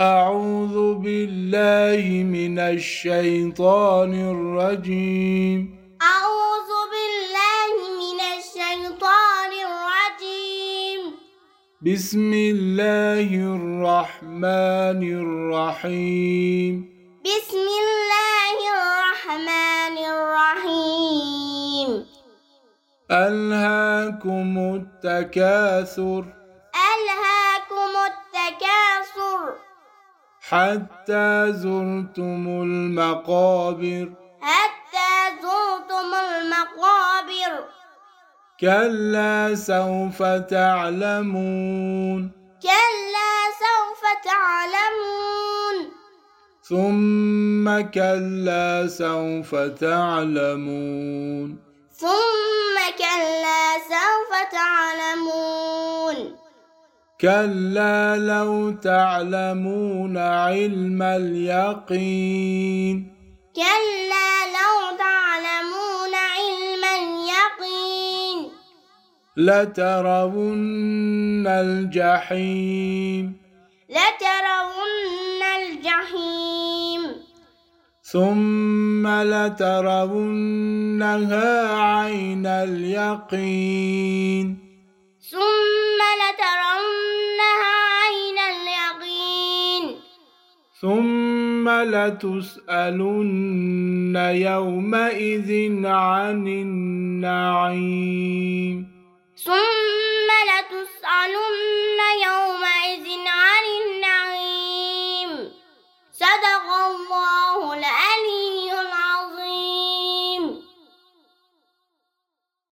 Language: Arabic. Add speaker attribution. Speaker 1: أعوذ بالله من الشيطان الرجيم
Speaker 2: أعوذ بالله من الشيطان الرجيم
Speaker 1: بسم الله الرحمن الرحيم
Speaker 2: بسم الله الرحمن الرحيم
Speaker 1: ألهاكم التكاثر
Speaker 2: ألهاكم التكاثر
Speaker 1: حتى زرتم المقابر
Speaker 2: حتى زرتم المقابر
Speaker 1: كلا سوف تعلمون
Speaker 2: كلا سوف تعلمون
Speaker 1: ثم كلا سوف تعلمون
Speaker 2: ثم كلا سوف تعلمون
Speaker 1: كلا لو تعلمون علم اليقين
Speaker 2: كلا لو تعلمون علم اليقين
Speaker 1: لترون الجحيم
Speaker 2: لترون الجحيم
Speaker 1: ثم لترونها عين اليقين
Speaker 2: ثم لترونها عين اليقين
Speaker 1: ثم لتسألن يومئذ عن النعيم
Speaker 2: ثم